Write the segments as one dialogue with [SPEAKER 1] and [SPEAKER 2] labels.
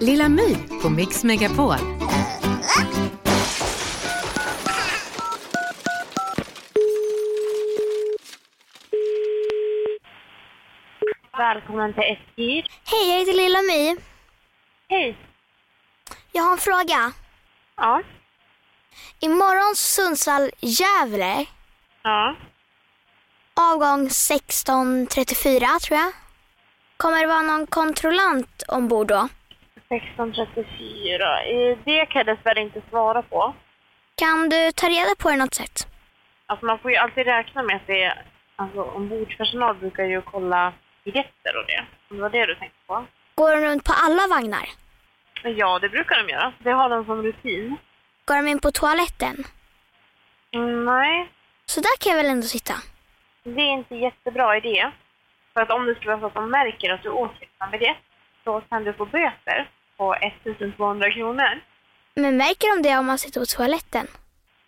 [SPEAKER 1] Lilla My på Mix Megapol.
[SPEAKER 2] Välkommen till SJ.
[SPEAKER 3] Hej, jag heter Lilla My.
[SPEAKER 2] Hej.
[SPEAKER 3] Jag har en fråga.
[SPEAKER 2] Ja.
[SPEAKER 3] Imorgon Sundsvall-Gävle,
[SPEAKER 2] Ja.
[SPEAKER 3] avgång 16.34 tror jag. Kommer det vara någon kontrollant ombord då?
[SPEAKER 2] 1634. Eh, Det kan jag dessvärre inte svara på.
[SPEAKER 3] Kan du ta reda på det något sätt?
[SPEAKER 2] Alltså man får ju alltid räkna med att det är... Alltså ombordpersonal brukar ju kolla biljetter och det. Om det var det du tänkte på.
[SPEAKER 3] Går de runt på alla vagnar?
[SPEAKER 2] Men Ja, det brukar de göra. Det har de som rutin.
[SPEAKER 3] Går de in på toaletten?
[SPEAKER 2] Mm, nej,
[SPEAKER 3] Så där kan jag väl ändå sitta?
[SPEAKER 2] det är inte jättebra idé. För att om det skulle vara så att de märker att du åker utan biljett, då kan du få böter på 1200 kronor.
[SPEAKER 3] Men märker de det om man sitter på toaletten?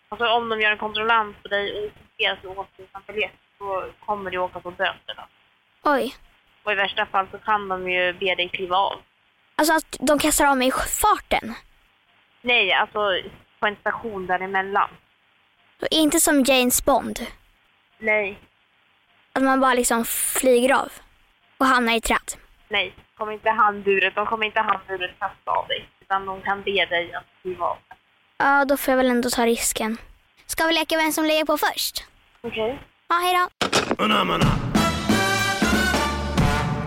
[SPEAKER 2] Alltså om de gör en kontrollant på dig och insisterar att du åker utan biljett, då kommer du åka på böter. Då.
[SPEAKER 3] Oj.
[SPEAKER 2] Och i värsta fall så kan de ju be dig kliva av.
[SPEAKER 3] Alltså att de kastar av mig i farten.
[SPEAKER 2] Nej, alltså på en station däremellan.
[SPEAKER 3] Och inte som James Bond.
[SPEAKER 2] Nej,
[SPEAKER 3] Att man bara liksom flyger av och hamnar i träd.
[SPEAKER 2] nej. Kommer inte handburet, de kommer inte handburet kasta av dig. Utan de kan be dig att kliva av.
[SPEAKER 3] Ja, då får jag väl ändå ta risken. Ska vi leka vem som lägger på först?
[SPEAKER 2] Okej.
[SPEAKER 3] Ja, hej då.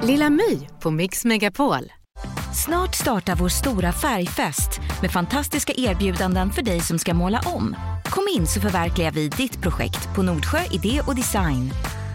[SPEAKER 1] Lilla My på Mix Megapol.
[SPEAKER 4] Snart startar vår stora färgfest med fantastiska erbjudanden för dig som ska måla om. Kom in så förverkligar vi ditt projekt på Nordsjö Idé och Design.